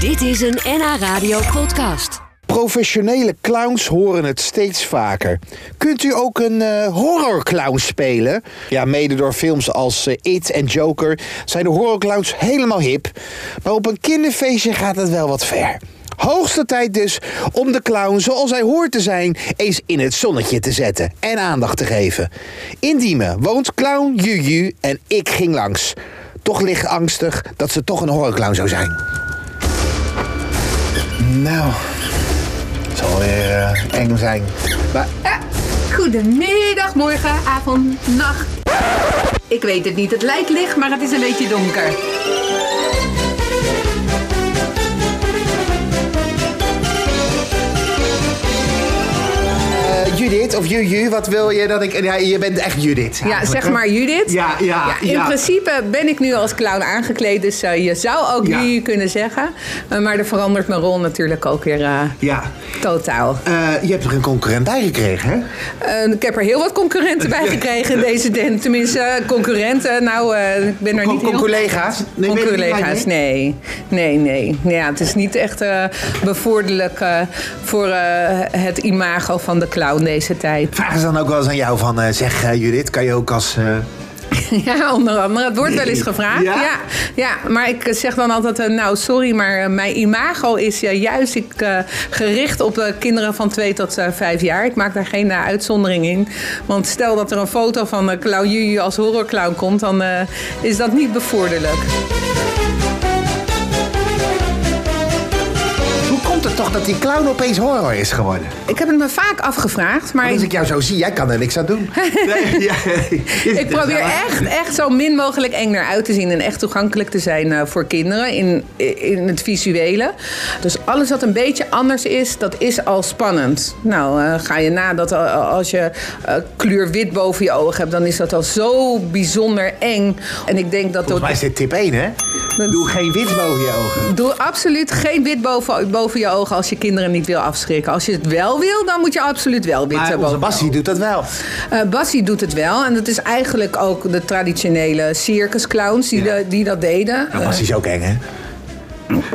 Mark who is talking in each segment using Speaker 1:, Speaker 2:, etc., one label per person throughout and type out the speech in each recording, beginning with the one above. Speaker 1: Dit is een NH Radio podcast.
Speaker 2: Professionele clowns horen het steeds vaker. Kunt u ook een eh horrorclown spelen? Ja, mede door films als eh, It en Joker zijn de horrorclowns helemaal hip. Maar op een kinderfeestje gaat het wel wat ver. Hoogste tijd dus om de clown zoals hij hoort te zijn eens in het zonnetje te zetten en aandacht te geven. In Diemen woont clown Juju en ik ging langs. Toch licht angstig dat ze toch een horrorclown zou zijn. Nou, het zal weer eh, eng zijn. Maar
Speaker 3: Goedemiddag, morgen, avond, nacht. Ik weet het niet, het lijkt licht, maar het is een beetje donker.
Speaker 2: eh, Judith of Juju, wat wil je dat ik... Ja, je bent echt Judith.
Speaker 3: Ja,
Speaker 2: eigenlijk,
Speaker 3: zeg
Speaker 2: hè?
Speaker 3: maar Judith.
Speaker 2: Ja, ja,
Speaker 3: in
Speaker 2: ja.
Speaker 3: principe ben ik nu als clown aangekleed, dus eh, je zou ook
Speaker 2: Ja.
Speaker 3: Juju kunnen zeggen. Eh, maar er verandert mijn rol natuurlijk ook weer eh,
Speaker 2: Ja.
Speaker 3: totaal.
Speaker 2: Eh, je hebt er een concurrent bij gekregen, hè?
Speaker 3: Eh, ik heb er heel wat concurrenten bij gekregen in deze den. Tenminste, eh, concurrenten, nou, eh, ik ben er
Speaker 2: Con-
Speaker 3: niet
Speaker 2: con-
Speaker 3: heel...
Speaker 2: collega's? Nee,
Speaker 3: Con-
Speaker 2: weet ik niet,
Speaker 3: collega's,
Speaker 2: maar
Speaker 3: nee. Nee, nee. Nee, Ja, het is niet echt eh bevorderlijk eh, voor eh, het imago van de clown deze tijd.
Speaker 2: Vragen ze dan ook wel eens aan jou van... eh, zeg, eh, Judith, kan je ook als... eh,
Speaker 3: Ja, onder andere. Het wordt wel eens gevraagd.
Speaker 2: Ja?
Speaker 3: Ja? Ja, maar ik zeg dan altijd, eh, nou sorry, maar eh, mijn imago is eh, juist ik, eh, gericht op eh, kinderen van 2 tot eh, 5 jaar. Ik maak daar geen eh, uitzondering in. Want stel dat er een foto van eh, clown Juju als horrorclown komt, dan eh, is dat niet bevorderlijk.
Speaker 2: hoe komt het toch dat die clown opeens horror is geworden?
Speaker 3: Ik heb het me vaak afgevraagd, maar
Speaker 2: Want Als ik
Speaker 3: ik,
Speaker 2: jou zo zie, jij kan er niks aan doen. Nee, ja, is nou- het
Speaker 3: ik probeer
Speaker 2: wel.
Speaker 3: echt, echt zo min mogelijk eng eruit te zien en echt toegankelijk te zijn eh, voor kinderen in, in het visuele. Dus alles wat een beetje anders is, dat is al spannend. Nou, eh, ga je na dat eh, als je eh, kleur wit boven je ogen hebt, dan is dat al zo bijzonder eng. En ik denk dat
Speaker 2: Volgens mij is dit tip 1, hè? Doe geen wit boven je ogen.
Speaker 3: Doe absoluut geen wit boven, boven je ogen als je kinderen niet wil afschrikken. Als je het wel wil, dan moet je absoluut wel wit
Speaker 2: Maar
Speaker 3: boven
Speaker 2: onze
Speaker 3: je
Speaker 2: Bassie doet dat wel.
Speaker 3: Eh, Bassie doet het wel. En dat is eigenlijk ook de traditionele circusclowns die,
Speaker 2: Ja.
Speaker 3: de- die dat deden.
Speaker 2: Nou, Bassie is ook eng, hè?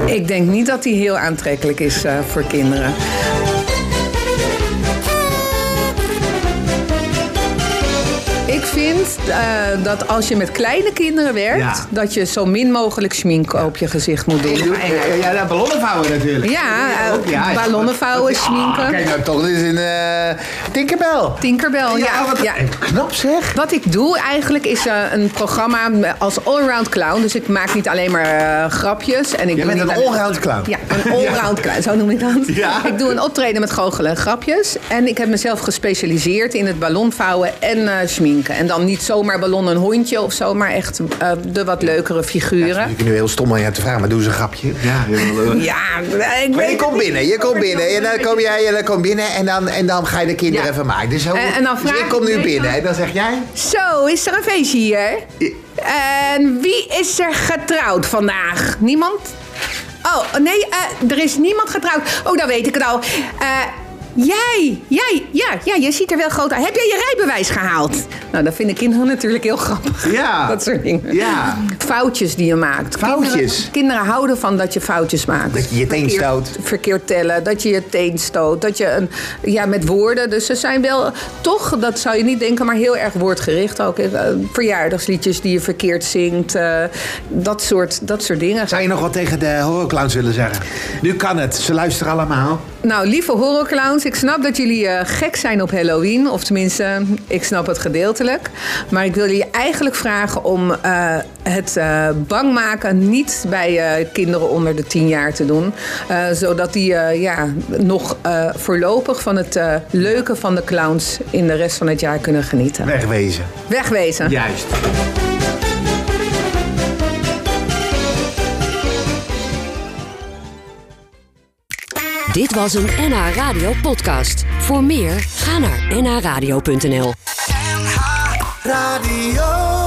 Speaker 3: Eh, ik denk niet dat die heel aantrekkelijk is eh, voor kinderen. Ik vind eh, dat als je met kleine kinderen werkt,
Speaker 2: Ja.
Speaker 3: dat je zo min mogelijk schmink op je gezicht moet doen.
Speaker 2: Ja, ja, ballonnen vouwen natuurlijk.
Speaker 3: Ja, eh,
Speaker 2: ook, ja.
Speaker 3: ballonnen vouwen, schminken.
Speaker 2: Ah, kijk nou, toch, dit is een eh Tinkerbell.
Speaker 3: Tinkerbell, Oh, ja.
Speaker 2: wat
Speaker 3: ja.
Speaker 2: knap zeg.
Speaker 3: Wat ik doe eigenlijk is eh, een programma eh, als allround clown. Dus ik maak niet alleen maar eh, grapjes. En
Speaker 2: Jij
Speaker 3: ik doe
Speaker 2: bent
Speaker 3: niet
Speaker 2: een
Speaker 3: alleen-
Speaker 2: allround clown.
Speaker 3: Ja, een allround clown, zo noem ik dat.
Speaker 2: Ja.
Speaker 3: Ik doe een optreden met goochelen en grapjes. En ik heb mezelf gespecialiseerd in het ballonvouwen en eh, schminken. En dan niet zomaar ballon een hondje of zo, maar echt eh, de wat leukere figuren.
Speaker 2: Ik ben nu heel stom aan je te vragen, maar doe eens een grapje. Ja,
Speaker 3: Ja, ik
Speaker 2: maar je
Speaker 3: weet-
Speaker 2: komt binnen, je komt binnen. En dan kom jij en dan kom binnen en dan, en dan ga je de kinderen
Speaker 3: Ja.
Speaker 2: vermaken. Dus, zo-
Speaker 3: En- en dan
Speaker 2: dus
Speaker 3: vraag
Speaker 2: ik kom
Speaker 3: ik
Speaker 2: nu
Speaker 3: meestal-
Speaker 2: binnen en dan zeg jij...
Speaker 3: Zo, is er een feestje hier? En wie is er getrouwd vandaag? Niemand? Oh, nee, eh, er is niemand getrouwd. Oh, dan weet ik het al. Eh, jij, jij, ja, ja, je ziet er wel groot uit. Heb jij je rijbewijs gehaald? Nou, dat vinden kinderen natuurlijk heel grappig.
Speaker 2: Ja.
Speaker 3: Dat soort dingen.
Speaker 2: Ja.
Speaker 3: Foutjes die je maakt.
Speaker 2: Foutjes?
Speaker 3: Kinderen, kinderen houden van dat je foutjes maakt.
Speaker 2: Dat je je teen
Speaker 3: Verkeerd-
Speaker 2: stoot.
Speaker 3: verkeerd tellen, dat je je teen stoot, dat je een, ja, met woorden. Dus ze zijn wel toch, dat zou je niet denken, maar heel erg woordgericht ook. Eh, Verjaardagsliedjes die je verkeerd zingt, eh, dat, soort, dat soort dingen.
Speaker 2: Zou je nog wat tegen de horrorclowns willen zeggen? Nu kan het, ze luisteren allemaal.
Speaker 3: Nou, lieve horrorclowns, ik snap dat jullie eh, gek zijn op Halloween. Of tenminste, ik snap het gedeeltelijk. Maar ik wil jullie eigenlijk vragen om eh, het eh, bang maken niet bij eh, kinderen onder de 10 jaar te doen. Eh, zodat die eh, ja, nog eh, voorlopig van het eh, leuke van de clowns in de rest van het jaar kunnen genieten.
Speaker 2: Wegwezen.
Speaker 3: Wegwezen.
Speaker 2: Juist.
Speaker 1: Dit was een NH Radio podcast. Voor meer, ga naar nhradio.nl.
Speaker 4: NH Radio.